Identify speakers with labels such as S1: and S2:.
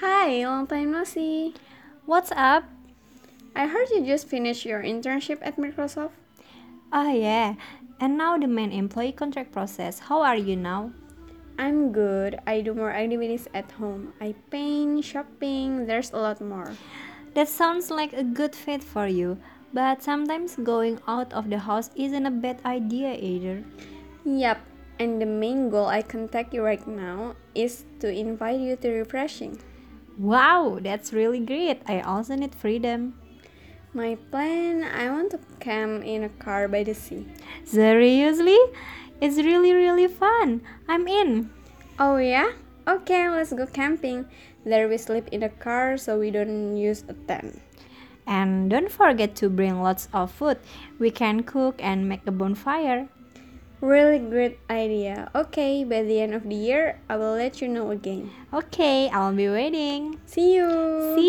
S1: Hi, long time no see.
S2: What's up?
S1: I heard you just finished your internship at Microsoft.
S2: Oh yeah. And now the main employee contract process. How are you now?
S1: I'm good. I do more activities at home. I paint, shopping, there's a lot more.
S2: That sounds like a good fit for you, but sometimes going out of the house isn't a bad idea either.
S1: Yep, and the main goal I contact you right now is to invite you to refreshing.
S2: Wow, that's really great. I also need freedom.
S1: My plan I want to camp in a car by the sea.
S2: Seriously? It's really really fun. I'm in.
S1: Oh yeah? Okay, let's go camping. There we sleep in a car so we don't use a tent.
S2: And don't forget to bring lots of food. We can cook and make a bonfire.
S1: Really great idea. Okay, by the end of the year, I will let you know again.
S2: Okay, I'll be waiting.
S1: See you.